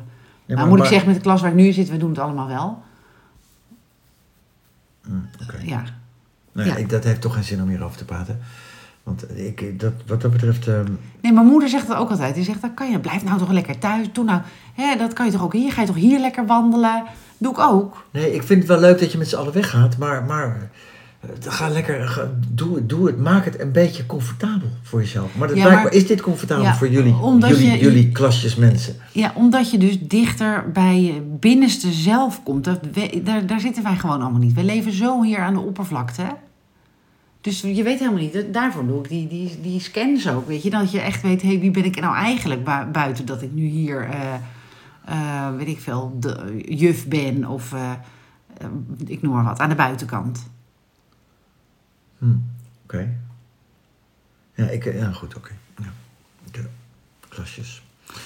Speaker 2: Ja,
Speaker 1: nou, moet ik zeggen, met de klas waar ik nu in zit, we doen het allemaal wel.
Speaker 2: Mm, oké.
Speaker 1: Ja.
Speaker 2: Nee,
Speaker 1: ja.
Speaker 2: ik, dat heeft toch geen zin om hierover te praten. Want ik, dat, wat dat betreft... ehm,
Speaker 1: Nee, mijn moeder zegt dat ook altijd. Die zegt, dat kan je, blijf nou toch lekker thuis. Doe nou, hè, dat kan je toch ook hier? Ga je toch hier lekker wandelen? Doe ik ook.
Speaker 2: nee, ik vind het wel leuk dat je met z'n allen weggaat. Maar, maar eh, ga lekker... Ga, doe, het, doe het. Maak het een beetje comfortabel voor jezelf. Maar, dat
Speaker 1: Ja,
Speaker 2: blijkbaar
Speaker 1: maar-
Speaker 2: is dit comfortabel
Speaker 1: Ja,
Speaker 2: voor jullie,
Speaker 1: omdat
Speaker 2: jullie,
Speaker 1: je-
Speaker 2: jullie klasjes mensen.
Speaker 1: Ja, omdat je dus dichter bij je binnenste zelf komt. Dat we- daar, daar zitten wij gewoon allemaal niet. We leven zo hier aan de oppervlakte. hè. Dus je weet helemaal niet. dat- Daarvoor doe ik die, die, die scans ook. Weet je? Dat je echt weet, hé, wie ben ik nou eigenlijk bui- buiten dat ik nu hier, eh, eh, weet ik veel, de, juf ben of eh, eh, ik noem maar wat, aan de buitenkant.
Speaker 2: Hmm, Oké. Ja, ik, ja, goed, oké. Ja. De klasjes. Oké.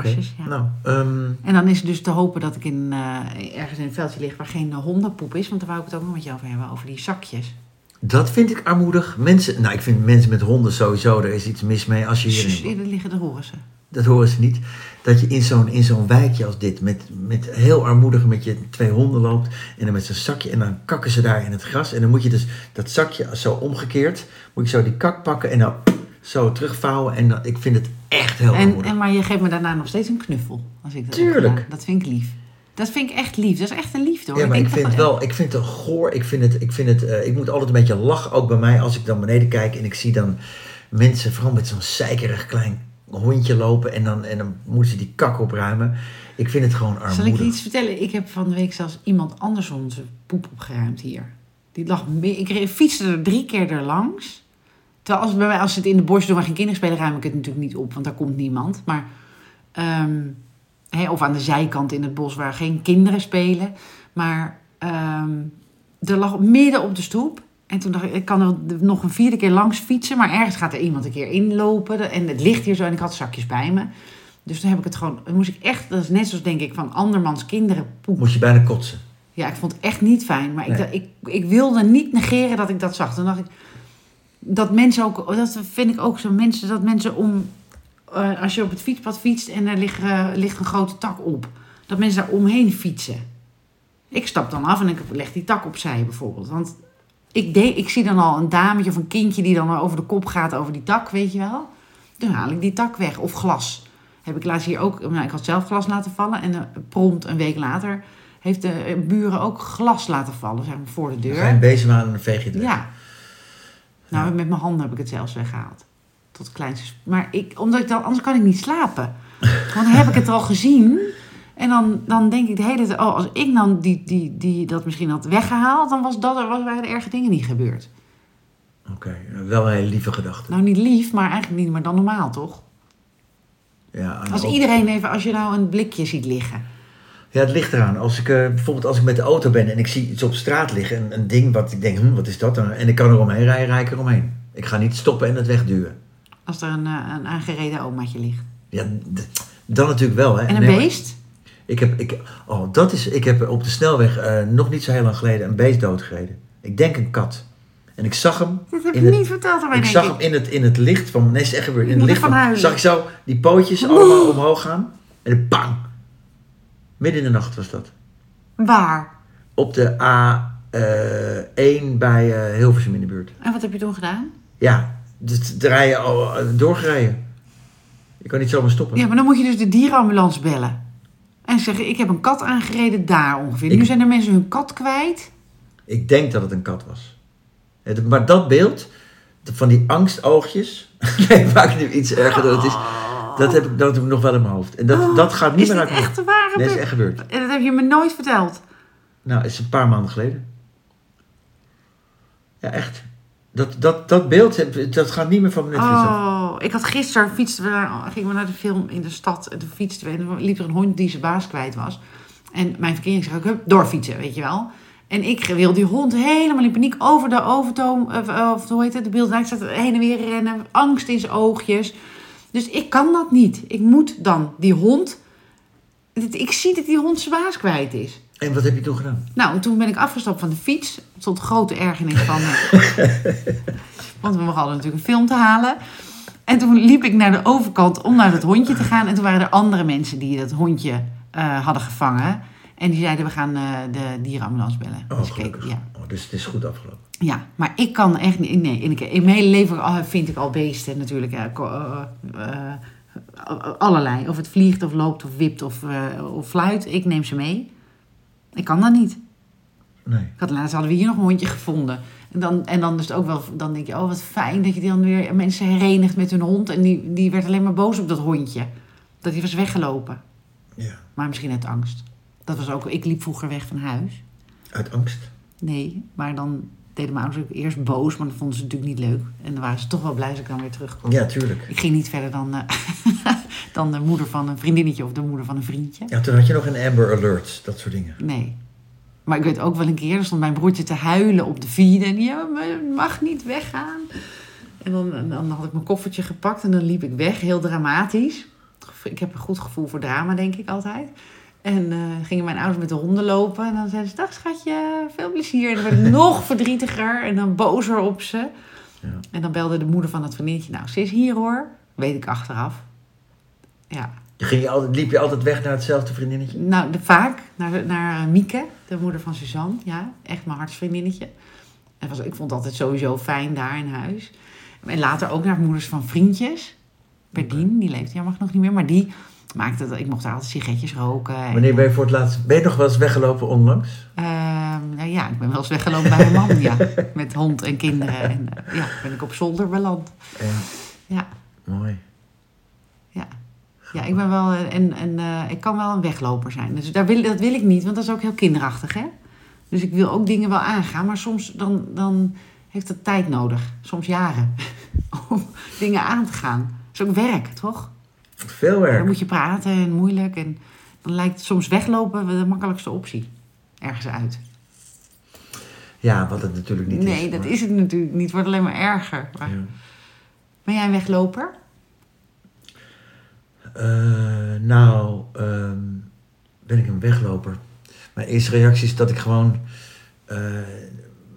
Speaker 1: Klasjes, ja.
Speaker 2: Nou, ehm,
Speaker 1: En dan is het dus te hopen dat ik in, eh, ergens in een veldje lig waar geen eh, hondenpoep is. Want daar wou ik het ook nog met je over hebben, over die zakjes.
Speaker 2: dat vind ik armoedig. Mensen, nou, ik vind mensen met honden sowieso, er is iets mis mee als je
Speaker 1: Sss,
Speaker 2: hier...
Speaker 1: Hier liggen de horen ze.
Speaker 2: Dat horen ze niet. Dat je in zo'n, in zo'n wijkje als dit, met, met heel armoedig met je twee honden loopt en dan met zo'n zakje en dan kakken ze daar in het gras. En dan moet je dus dat zakje zo omgekeerd, moet je zo die kak pakken en dan zo terugvouwen. En dan, ik vind het echt heel
Speaker 1: En,
Speaker 2: armoedig.
Speaker 1: en, maar je geeft me daarna nog steeds een knuffel. Als ik dat heb
Speaker 2: Tuurlijk.
Speaker 1: gedaan. Dat vind ik lief. Dat vind ik echt lief. Dat is echt een liefde hoor.
Speaker 2: Ja, maar ik
Speaker 1: denk eh,
Speaker 2: vind
Speaker 1: dat
Speaker 2: het wel, ik vind het goor, ik vind het, ik vind het, eh, ik moet altijd een beetje lachen, ook bij mij, als ik dan beneden kijk en ik zie dan mensen, vooral met zo'n zeikerig klein hondje lopen en dan, en dan moeten ze die kak opruimen. Ik vind het gewoon
Speaker 1: Zal ik je
Speaker 2: armoedig.
Speaker 1: iets vertellen? Ik heb van de week zelfs iemand anders onze poep opgeruimd hier. Die lag me- ik re- fietste er drie keer er langs. Terwijl als, het bij mij, als ze het in de bos doen waar geen kinderen spelen, ruim ik het natuurlijk niet op, want daar komt niemand. Maar, ehm, hè, of aan de zijkant in het bos waar geen kinderen spelen. Maar ehm, er lag midden op de stoep. En toen dacht ik, ik kan er nog een vierde keer langs fietsen, maar ergens gaat er iemand een keer inlopen. En het ligt hier zo en ik had zakjes bij me. Dus toen heb ik het gewoon, dan moest ik echt, dat is net zoals denk ik van andermans kinderen poep.
Speaker 2: Moet je bijna kotsen.
Speaker 1: Ja, ik vond het echt niet fijn. Maar ik,
Speaker 2: Nee.
Speaker 1: dacht- ik, ik wilde niet negeren dat ik dat zag. Toen dacht ik, dat mensen ook, dat vind ik ook zo, mensen, dat mensen om, eh, als je op het fietspad fietst en er ligt, eh, ligt een grote tak op, dat mensen daar omheen fietsen. Ik stap dan af en ik leg die tak opzij bijvoorbeeld. Want ik, de, ik zie dan al een dametje of een kindje die dan over de kop gaat over die tak, weet je wel. Dan haal ik die tak weg. Of glas. Heb ik laatst hier ook, nou, ik had zelf glas laten vallen en eh, prompt een week later heeft de eh, buren ook glas laten vallen, zeg maar, voor de
Speaker 2: Dan ga je een
Speaker 1: deur.
Speaker 2: bezem aan en dan veeg je het weg.
Speaker 1: Ja. Nou, met mijn handen heb ik het zelfs weggehaald. Tot kleinste. Maar ik, omdat ik dan, anders kan ik niet slapen. Want dan heb ik het al gezien. En dan, dan denk ik de hele tijd, oh, als ik dan die, die, die, dat misschien had weggehaald, dan was dat, er- was, waren de erge dingen niet gebeurd.
Speaker 2: Oké, wel een hele lieve gedachte.
Speaker 1: Nou, niet lief, maar eigenlijk niet meer dan normaal, toch?
Speaker 2: Ja, en
Speaker 1: Als
Speaker 2: ook-
Speaker 1: iedereen even, als je nou een blikje ziet liggen.
Speaker 2: Ja, het ligt eraan. Als ik, eh, bijvoorbeeld als ik met de auto ben en ik zie iets op straat liggen, een, een ding wat ik denk, hm, wat is dat dan? En ik kan er omheen rijden, rijd ik er omheen. Ik ga niet stoppen en het wegduwen.
Speaker 1: Als er een, eh, een aangereden omaatje ligt.
Speaker 2: Ja, d- dan natuurlijk wel. Hè.
Speaker 1: En een
Speaker 2: Nee, maar
Speaker 1: beest?
Speaker 2: Ik heb, ik, oh, dat is, ik heb op de snelweg eh, nog niet zo heel lang geleden een beest doodgereden. Ik denk een kat. En ik zag hem.
Speaker 1: Dat heb
Speaker 2: in
Speaker 1: je
Speaker 2: het-
Speaker 1: niet verteld aan mij,
Speaker 2: Ik
Speaker 1: denk
Speaker 2: zag
Speaker 1: ik.
Speaker 2: hem in het, in het licht van. Nee, is echt gebeurd.
Speaker 1: Je
Speaker 2: In het
Speaker 1: moet
Speaker 2: licht
Speaker 1: ervan
Speaker 2: van.
Speaker 1: huilen.
Speaker 2: Zag ik zo die pootjes allemaal omhoog gaan. En dan bang! Midden in de nacht was dat.
Speaker 1: Waar?
Speaker 2: Op de A1 bij eh, Hilversum in de buurt.
Speaker 1: En wat heb je toen gedaan?
Speaker 2: Ja, dus de rijden, al- doorgereden. Je kan niet zomaar stoppen.
Speaker 1: Ja, maar dan moet je dus de dierenambulance bellen. En zeggen, ik heb een kat aangereden daar ongeveer.
Speaker 2: Ik-
Speaker 1: Nu zijn er mensen hun kat kwijt.
Speaker 2: Ik denk dat het een kat was. Het- maar dat beeld van die angstoogjes. nee, maak het nu iets erger dan het is. Dat heb ik, dat heb ik nog wel in mijn hoofd. En dat, dat gaat niet
Speaker 1: Oh, Is
Speaker 2: meer uit
Speaker 1: dit
Speaker 2: mijn
Speaker 1: echt
Speaker 2: hoofd.
Speaker 1: de ware
Speaker 2: Nee, is
Speaker 1: be-
Speaker 2: echt gebeurd.
Speaker 1: En dat heb je me nooit verteld.
Speaker 2: Nou, het is een paar maanden geleden. Ja, echt. Dat, dat, dat beeld, heb- dat gaat niet meer van mijn netvlies af.
Speaker 1: Oh, ik had gisteren fietsten we naar, gingen we naar de film in de stad. En toen fietsten we en toen liep er een hond die zijn baas kwijt was. En mijn verkering zei ook, hup, doorfietsen, weet je wel. En ik wil die hond helemaal in paniek over de overtoom, of, of hoe heet het, de beelden. Ik zat heen en weer rennen, angst in zijn oogjes. Dus ik kan dat niet. Ik moet dan die hond... dit- Ik zie dat die hond zijn baas kwijt is.
Speaker 2: En wat heb je toen gedaan?
Speaker 1: Nou, en toen ben ik afgestapt van de fiets. Tot grote ergernis van me. Want we hadden natuurlijk een film te halen. En toen liep ik naar de overkant om naar dat hondje te gaan. En toen waren er andere mensen die dat hondje eh, hadden gevangen. En die zeiden, we gaan eh, de dierenambulance bellen.
Speaker 2: Oh,
Speaker 1: Dus ik keek-
Speaker 2: gelukkig.
Speaker 1: ja.
Speaker 2: Oh, dus het is goed afgelopen.
Speaker 1: ja, maar ik kan echt niet... Nee, en ik, in mijn hele leven al- vind ik al beesten natuurlijk. eh, ko- eh, eh, allerlei. Of het vliegt, of loopt, of wipt, of, eh, of fluit. Ik neem ze mee. Ik kan dat niet.
Speaker 2: Nee.
Speaker 1: Ik had laatst hadden we hier nog een hondje gevonden. En dan, en dan is het ook wel, dan denk je, oh wat fijn dat je dan weer mensen herenigt met hun hond. En die, die werd alleen maar boos op dat hondje. Dat hij was weggelopen.
Speaker 2: Ja.
Speaker 1: Maar misschien uit angst. Dat was ook, ik liep vroeger weg van huis.
Speaker 2: Uit angst.
Speaker 1: Nee, maar dan deden mijn ouders ook eerst boos, maar dat vonden ze natuurlijk niet leuk. En dan waren ze toch wel blij als ik dan weer terugkwam.
Speaker 2: Ja, tuurlijk.
Speaker 1: Ik ging niet verder dan, eh, dan de moeder van een vriendinnetje of de moeder van een vriendje.
Speaker 2: Ja, toen had je nog een Amber Alert, dat soort dingen.
Speaker 1: Nee. Maar ik weet ook wel een keer, er stond mijn broertje te huilen op de vierde. En die, ja, maar je mag niet weggaan. En dan, en dan had ik mijn koffertje gepakt en dan liep ik weg, heel dramatisch. Ik heb een goed gevoel voor drama, denk ik altijd. En eh, gingen mijn ouders met de honden lopen. En dan zeiden ze, dag schatje, veel plezier. En dan werd ik nog verdrietiger en dan bozer op ze.
Speaker 2: Ja.
Speaker 1: En dan belde de moeder van het vriendinnetje, nou ze is hier hoor. Weet ik achteraf. Ja,
Speaker 2: Je Ging je altijd, liep je altijd weg naar hetzelfde vriendinnetje?
Speaker 1: nou, de, vaak naar, naar eh, Mieke, de moeder van Suzanne. Ja, echt mijn hartsvriendinnetje. En was, ik vond het altijd sowieso fijn daar in huis. En later ook naar moeders van vriendjes. Berdien, die leeft jammer genoeg niet meer. Maar die maakte dat ik mocht daar altijd sigaretjes roken. En,
Speaker 2: Wanneer ben je voor het laatst... Ben je nog wel eens weggelopen onlangs?
Speaker 1: Ehm, nou ja, ik ben wel eens weggelopen bij mijn man. Ja, met hond en kinderen. En eh, ja, ben ik op zolder beland.
Speaker 2: Ja.
Speaker 1: Ja,
Speaker 2: Mooi.
Speaker 1: ja. Ja, ik ben wel een, een, een, eh, ik kan wel een wegloper zijn. Dus daar wil, dat wil ik niet, want dat is ook heel kinderachtig, hè? Dus ik wil ook dingen wel aangaan, maar soms dan, dan heeft dat tijd nodig. Soms jaren. Om dingen aan te gaan. Dat is ook werk, toch?
Speaker 2: Veel
Speaker 1: Dan
Speaker 2: werk.
Speaker 1: moet je praten en moeilijk. En dan lijkt soms weglopen de makkelijkste optie. Ergens uit.
Speaker 2: Ja, wat het natuurlijk niet is.
Speaker 1: Nee, dat
Speaker 2: maar-
Speaker 1: is het natuurlijk niet. Het wordt alleen maar erger. Maar-
Speaker 2: Ja.
Speaker 1: Ben jij een wegloper?
Speaker 2: Eh, nou, ehm, ben ik een wegloper. Mijn eerste reactie is dat ik gewoon eh,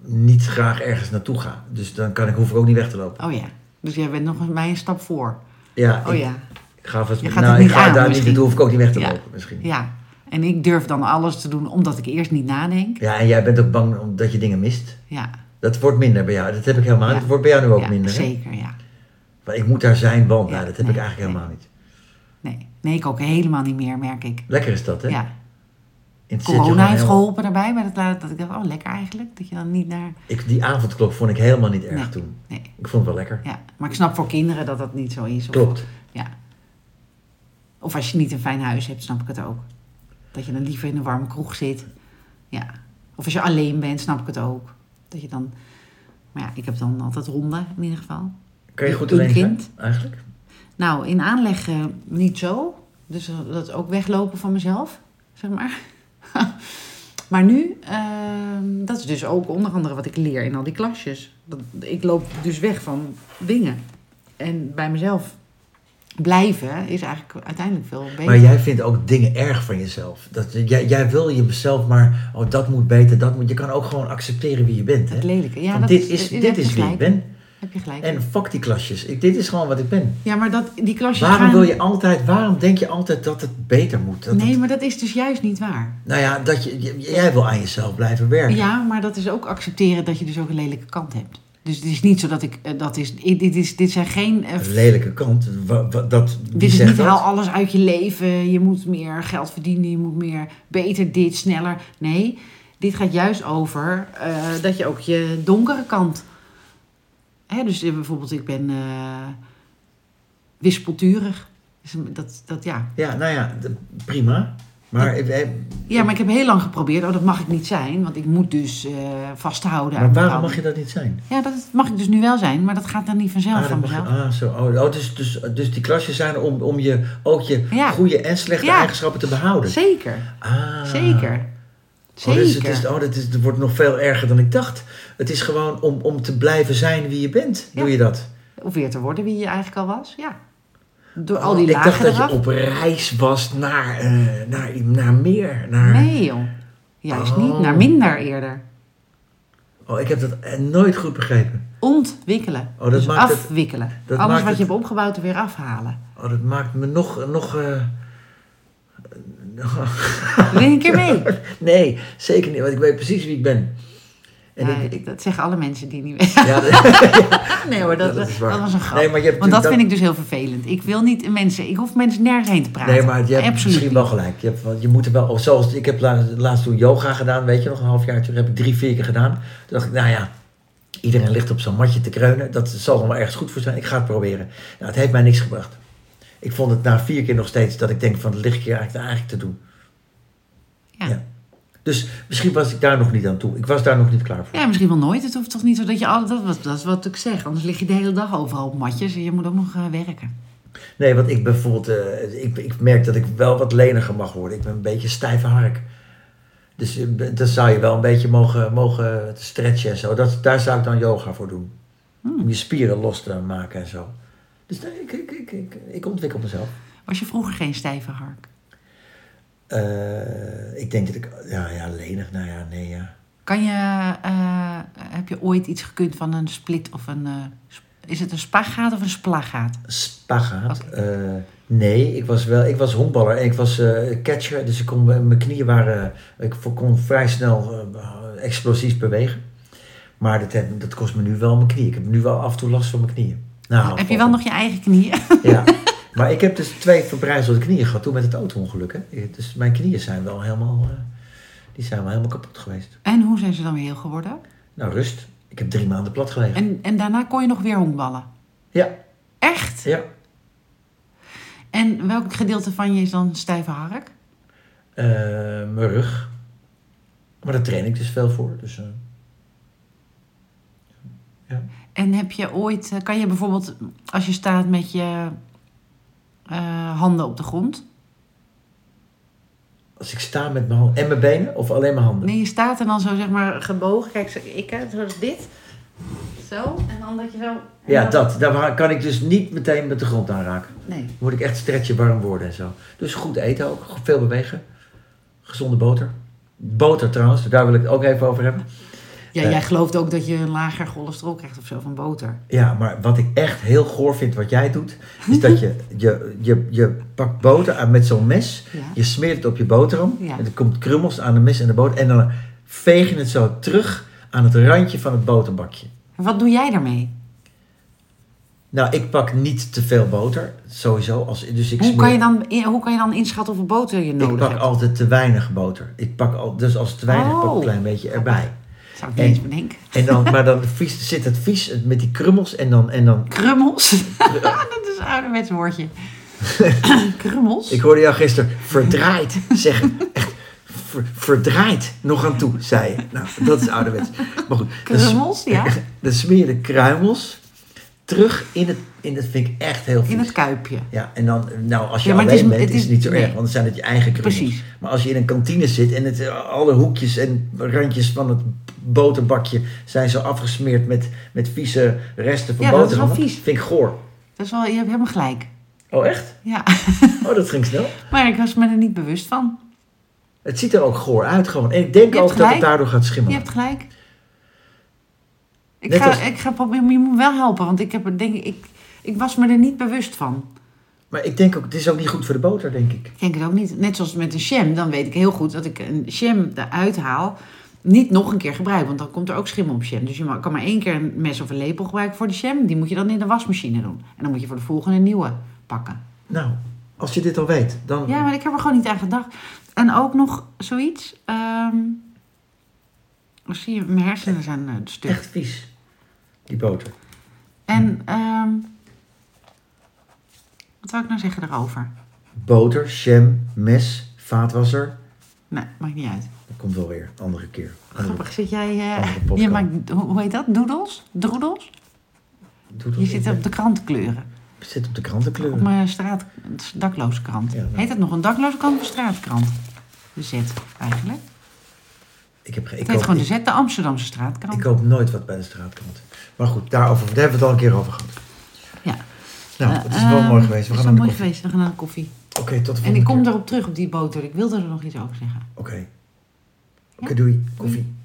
Speaker 2: niet graag ergens naartoe ga. Dus dan kan ik, hoef ik ook niet weg te lopen.
Speaker 1: Oh ja. Dus jij bent nog eens mij een stap voor.
Speaker 2: Ja,
Speaker 1: Oh
Speaker 2: ik,
Speaker 1: ja.
Speaker 2: ik ga, vast,
Speaker 1: Je gaat
Speaker 2: nou,
Speaker 1: het
Speaker 2: ik
Speaker 1: niet
Speaker 2: ga daar
Speaker 1: aan,
Speaker 2: niet
Speaker 1: misschien.
Speaker 2: naartoe, hoef ik ook niet weg te
Speaker 1: Ja.
Speaker 2: lopen misschien. Ja.
Speaker 1: Ja, en ik durf dan alles te doen omdat ik eerst niet nadenk.
Speaker 2: en jij bent ook bang omdat je dingen mist.
Speaker 1: Ja,
Speaker 2: Dat wordt minder bij jou. Dat heb ik helemaal niet.
Speaker 1: Ja.
Speaker 2: Dat wordt bij jou nu ook
Speaker 1: ja
Speaker 2: minder. hè?
Speaker 1: zeker, ja.
Speaker 2: Maar ik moet daar zijn, want
Speaker 1: Ja,
Speaker 2: nou, dat heb
Speaker 1: nee,
Speaker 2: ik eigenlijk
Speaker 1: nee.
Speaker 2: helemaal niet.
Speaker 1: Nee. nee, ik ook helemaal niet meer, merk ik.
Speaker 2: Lekker is dat, hè?
Speaker 1: Ja,
Speaker 2: En het zit je
Speaker 1: Corona
Speaker 2: gewoon
Speaker 1: heeft
Speaker 2: helemaal-
Speaker 1: geholpen daarbij. Maar dat, laat- dat ik dacht, oh lekker eigenlijk. Dat je dan niet naar...
Speaker 2: Ik, die avondklok vond ik helemaal niet erg
Speaker 1: Nee.
Speaker 2: toen.
Speaker 1: Nee.
Speaker 2: Ik vond het wel lekker.
Speaker 1: Ja, maar ik snap voor kinderen dat dat niet zo is. Of,
Speaker 2: Klopt.
Speaker 1: Ja. Of als je niet een fijn huis hebt, snap ik het ook. Dat je dan liever in een warme kroeg zit. Ja. Of als je alleen bent, snap ik het ook. Dat je dan... Maar ja, ik heb dan altijd honden in ieder geval.
Speaker 2: Kan je
Speaker 1: Een
Speaker 2: goed alleen
Speaker 1: kind.
Speaker 2: zijn, eigenlijk?
Speaker 1: Nou, in aanleg eh, niet zo. Dus dat is ook weglopen van mezelf, zeg maar. maar nu, ehm, dat is dus ook onder andere wat ik leer in al die klasjes. Dat, ik loop dus weg van dingen. En bij mezelf blijven is eigenlijk uiteindelijk veel beter.
Speaker 2: Maar jij vindt ook dingen erg van jezelf. Dat, jij, jij wil jezelf maar, oh dat moet beter, dat moet. Je kan ook gewoon accepteren wie je bent.
Speaker 1: het
Speaker 2: Hè?
Speaker 1: lelijke. Ja,
Speaker 2: Van,
Speaker 1: dat
Speaker 2: dit is,
Speaker 1: daar
Speaker 2: dit
Speaker 1: heb je
Speaker 2: is wie ik
Speaker 1: gelijk.
Speaker 2: ben.
Speaker 1: Heb je gelijk.
Speaker 2: En fuck die klasjes. Ik, dit is gewoon wat ik ben.
Speaker 1: ja, maar dat, die klasjes
Speaker 2: Waarom
Speaker 1: gaan...
Speaker 2: wil je altijd, waarom denk je altijd dat het beter moet? Dat het-
Speaker 1: Nee, maar dat is dus juist niet waar.
Speaker 2: nou ja, dat je, j- jij wil aan jezelf blijven werken.
Speaker 1: Ja, maar dat is ook accepteren dat je dus ook een lelijke kant hebt. Dus het is niet zo dat ik eh, dat is. i- Dit, is, dit zijn geen. eh,
Speaker 2: Een lelijke kant. Wa- wa- dat, wie
Speaker 1: dit is
Speaker 2: zegt
Speaker 1: niet
Speaker 2: dat?
Speaker 1: haal alles uit je leven. Je moet meer geld verdienen. Je moet meer beter dit, sneller. Nee, dit gaat juist over eh, dat je ook je donkere kant. Hè, dus eh, bijvoorbeeld, ik ben eh wispelturig. Dus dat, dat, ja,
Speaker 2: Ja, nou ja, d- prima. Maar, eh, eh,
Speaker 1: ja, maar ik heb heel lang geprobeerd. Oh, dat mag ik niet zijn, want ik moet dus eh, vasthouden. aan
Speaker 2: maar waarom
Speaker 1: bepaalde-
Speaker 2: mag je dat niet zijn?
Speaker 1: Ja, dat mag ik dus nu wel zijn, maar dat gaat dan niet vanzelf
Speaker 2: Ah, dat
Speaker 1: van
Speaker 2: mag je-
Speaker 1: mezelf.
Speaker 2: ah, zo. Oh, oh, dus, dus, dus die klasjes zijn om, om je, ook je
Speaker 1: Ja.
Speaker 2: goede en slechte
Speaker 1: Ja.
Speaker 2: eigenschappen te behouden.
Speaker 1: Zeker,
Speaker 2: Ah.
Speaker 1: zeker.
Speaker 2: Oh,
Speaker 1: Zeker.
Speaker 2: dus het, is, oh, dat is, het wordt nog veel erger dan ik dacht. Het is gewoon om, om te blijven zijn wie je bent.
Speaker 1: Ja.
Speaker 2: Doe je dat?
Speaker 1: Of weer te worden wie je eigenlijk al was, ja. Door
Speaker 2: Oh,
Speaker 1: al die
Speaker 2: ik
Speaker 1: lagen
Speaker 2: dacht dat je
Speaker 1: eraf.
Speaker 2: op reis was naar, eh, naar, naar meer. Naar...
Speaker 1: Nee joh, juist
Speaker 2: Oh.
Speaker 1: niet, naar minder eerder.
Speaker 2: Oh, ik heb dat eh, nooit goed begrepen.
Speaker 1: Ontwikkelen,
Speaker 2: Oh, dat
Speaker 1: dus
Speaker 2: maakt het-
Speaker 1: afwikkelen.
Speaker 2: dat
Speaker 1: Alles
Speaker 2: maakt
Speaker 1: wat
Speaker 2: het-
Speaker 1: je hebt opgebouwd er weer afhalen.
Speaker 2: Oh, dat maakt me nog... nog eh,
Speaker 1: Win een keer mee.
Speaker 2: Nee, zeker niet, want ik weet precies wie ik ben. En
Speaker 1: Ja,
Speaker 2: ik, ik,
Speaker 1: Dat zeggen alle mensen die niet weten.
Speaker 2: ja, dat-
Speaker 1: Nee hoor, dat,
Speaker 2: dat
Speaker 1: dat,
Speaker 2: is waar.
Speaker 1: was een grap.
Speaker 2: Nee, maar je hebt
Speaker 1: Want dat,
Speaker 2: dat-
Speaker 1: vind ik dus heel vervelend. Ik wil niet mensen, ik hoef mensen nergens heen te praten.
Speaker 2: Nee, maar je hebt
Speaker 1: Absoluut
Speaker 2: misschien
Speaker 1: niet.
Speaker 2: wel gelijk. Je, hebt, wel- je moet er wel, of zoals ik heb laatst, laatst toen yoga gedaan, weet je nog, een half jaar toen heb ik drie, vier keer gedaan. Toen dacht ik, nou ja, iedereen ligt op zo'n matje te kreunen. Dat zal dan wel ergens goed voor zijn. Ik ga het proberen. Nou, het heeft mij niks gebracht. Ik vond het na vier keer nog steeds dat ik denk van, het ligt ik hier eigenlijk, eigenlijk te doen.
Speaker 1: Ja.
Speaker 2: Ja. Dus misschien was ik daar nog niet aan toe. Ik was daar nog niet klaar voor.
Speaker 1: Ja, misschien wel nooit. Het hoeft toch niet zo dat je al dat, was- dat is wat ik zeg. Anders lig je de hele dag overal op matjes en je moet ook nog eh, werken.
Speaker 2: Nee, want ik bijvoorbeeld, eh, ik, ik merk dat ik wel wat leniger mag worden. Ik ben een beetje stijve hark. Dus eh, b- dat zou je wel een beetje mogen, mogen stretchen en zo. Dat, daar zou ik dan yoga voor doen. Om je spieren los te maken en zo. Dus nee, ik, ik, ik, ik, ik ontwikkel mezelf.
Speaker 1: Was je vroeger geen stijve hark?
Speaker 2: Eh, ik denk dat ik, ja, ja, lenig, nou ja, nee, ja.
Speaker 1: Kan je, eh, heb je ooit iets gekund van een split of een... eh, sp- is het een spagaat of een splagaat?
Speaker 2: Spagaat.
Speaker 1: Oké.
Speaker 2: eh, nee, ik was wel, ik was honkballer en ik was eh, catcher. Dus ik kon, mijn knieën waren, eh, ik kon vrij snel eh, explosief bewegen. Maar dat, heb- dat kost me nu wel mijn knieën. Ik heb nu wel af en toe last van mijn knieën. Nou,
Speaker 1: heb je wel nog je eigen knieën?
Speaker 2: Ja. Maar ik heb dus twee verbrijzelde knieën gehad toen met het auto-ongeluk. hè. Dus mijn knieën zijn wel helemaal, eh, die zijn wel helemaal kapot geweest.
Speaker 1: en hoe zijn ze dan weer heel geworden?
Speaker 2: Nou, rust. Ik heb drie maanden plat gelegen.
Speaker 1: En, en daarna kon je nog weer honkballen?
Speaker 2: Ja,
Speaker 1: Echt?
Speaker 2: ja.
Speaker 1: En welk gedeelte van je is dan stijve hark?
Speaker 2: Eh, mijn rug. Maar daar train ik dus veel voor. Dus, eh,
Speaker 1: En heb je ooit, eh, kan je bijvoorbeeld, als je staat met je eh, handen op de grond,
Speaker 2: Als ik sta met mijn handen en mijn benen of alleen mijn handen?
Speaker 1: Nee, je staat er dan zo zeg maar gebogen. Kijk, zo, ik hè, zoals dit. Zo, en dan dat je zo... en
Speaker 2: Ja,
Speaker 1: dan-
Speaker 2: dat. Daar wa- kan ik dus niet meteen met de grond aanraken.
Speaker 1: Nee.
Speaker 2: Dan moet ik echt stretchen, warm worden en zo. Dus goed eten ook, veel bewegen. Gezonde boter. Boter trouwens, daar wil ik het ook even over hebben.
Speaker 1: Ja,
Speaker 2: Eh.
Speaker 1: jij gelooft ook dat je een lager cholesterol krijgt of zo van boter.
Speaker 2: Ja, maar wat ik echt heel goor vind wat jij doet, is dat je, je, je, je pakt boter aan met zo'n mes.
Speaker 1: Ja.
Speaker 2: Je smeert het op je boterham.
Speaker 1: Ja.
Speaker 2: En er komt krummels aan de mes en de boter. En dan veeg je het zo terug aan het randje van het boterbakje.
Speaker 1: En wat doe jij daarmee?
Speaker 2: Nou, ik pak niet te veel boter, sowieso. Als, dus ik
Speaker 1: Hoe
Speaker 2: smeer-
Speaker 1: kan, je dan, in- hoe kan je dan inschatten hoeveel boter je
Speaker 2: Ik
Speaker 1: nodig
Speaker 2: pak
Speaker 1: hebt?
Speaker 2: altijd te weinig boter. Ik pak al, dus als het te weinig, pak ik een
Speaker 1: Oh.
Speaker 2: klein beetje erbij.
Speaker 1: Dat zou ik niet eens bedenken.
Speaker 2: En dan, maar dan vies, zit het vies met die krummels en dan, en dan...
Speaker 1: Krummels. dat is een ouderwets woordje. Krummels?
Speaker 2: Ik hoorde jou gisteren verdraaid zeggen. Echt ver- verdraaid nog aan toe, zei je. Nou, dat is ouderwets. Maar goed. dan s-
Speaker 1: Krummels, ja.
Speaker 2: Dan smeer je de kruimels terug in het... In, dat vind ik echt heel vies.
Speaker 1: In het kuipje.
Speaker 2: Ja, en dan, nou, als je
Speaker 1: Ja, maar
Speaker 2: alleen
Speaker 1: het is-
Speaker 2: bent,
Speaker 1: het
Speaker 2: is
Speaker 1: is-
Speaker 2: het niet zo
Speaker 1: nee.
Speaker 2: erg, want dan zijn het je eigen krummels.
Speaker 1: Precies.
Speaker 2: Maar als je in een kantine zit en het, eh, alle hoekjes en randjes van het boterbakje zijn zo afgesmeerd met, met vieze resten van
Speaker 1: Ja, dat
Speaker 2: boter.
Speaker 1: is wel vies.
Speaker 2: Vind ik goor.
Speaker 1: Dat is wel, je hebt helemaal gelijk.
Speaker 2: Oh, echt?
Speaker 1: Ja,
Speaker 2: Oh, dat ging snel.
Speaker 1: maar ik was me er niet bewust van.
Speaker 2: Het ziet er ook goor uit gewoon. En ik denk
Speaker 1: Je hebt
Speaker 2: ook dat het
Speaker 1: gelijk.
Speaker 2: daardoor gaat
Speaker 1: Je
Speaker 2: schimmelen.
Speaker 1: hebt gelijk. Ik
Speaker 2: Net
Speaker 1: ga,
Speaker 2: als-
Speaker 1: ik ga proberen, maar je moet wel helpen, want ik, heb, er- denk, ik- ik, ik was me er niet bewust van.
Speaker 2: Maar ik denk ook, het is ook niet goed voor de boter, denk ik.
Speaker 1: Ik denk het ook niet. Net zoals met een jam, dan weet ik heel goed dat ik een jam eruit haal. Niet nog een keer gebruik, want dan komt er ook schimmel op jam. Dus je ma- kan maar één keer een mes of een lepel gebruiken voor de jam. Die moet je dan in de wasmachine doen. En dan moet je voor de volgende een nieuwe pakken.
Speaker 2: Nou, als je dit al weet, dan...
Speaker 1: Ja, maar ik heb er gewoon niet aan gedacht. En ook nog zoiets. ehm, oh, zie je, mijn hersenen zijn eh, stuk.
Speaker 2: Echt vies, die boter. Hm.
Speaker 1: En ehm, wat wou ik nou zeggen daarover?
Speaker 2: Boter, jam, mes, vaatwasser.
Speaker 1: Nee, maakt niet uit.
Speaker 2: Dat komt wel weer, andere keer. Andere
Speaker 1: Grappig, zit jij... eh,
Speaker 2: Oh. Andere podcast.
Speaker 1: je maakt, hoe hoe heet dat? Doodles? Droedels?
Speaker 2: Doe dat
Speaker 1: Je
Speaker 2: ook
Speaker 1: zit
Speaker 2: weer.
Speaker 1: op de krant kleuren.
Speaker 2: Zit op de krantenkleur.
Speaker 1: Op mijn straat... dakloze krant.
Speaker 2: Ja, nou.
Speaker 1: Heet dat nog een dakloze krant of een straatkrant? De Z eigenlijk.
Speaker 2: Ik, heb, ge- ik,
Speaker 1: Het heet
Speaker 2: koop,
Speaker 1: gewoon de
Speaker 2: ik,
Speaker 1: Z, de Amsterdamse straatkrant.
Speaker 2: ik koop nooit wat bij de straatkrant. Maar goed, daarover daar hebben we het al een keer over gehad.
Speaker 1: Ja.
Speaker 2: Nou,
Speaker 1: Eh,
Speaker 2: het is wel
Speaker 1: ehm,
Speaker 2: mooi geweest. We
Speaker 1: het
Speaker 2: gaan naar
Speaker 1: is wel
Speaker 2: de
Speaker 1: mooi
Speaker 2: koffie.
Speaker 1: geweest. We gaan naar de koffie.
Speaker 2: Oké, tot de volgende
Speaker 1: En ik kom
Speaker 2: keer.
Speaker 1: erop terug op die boter. Ik wilde er nog iets over zeggen.
Speaker 2: Oké. Oké,
Speaker 1: Ja?
Speaker 2: doei. Koffie.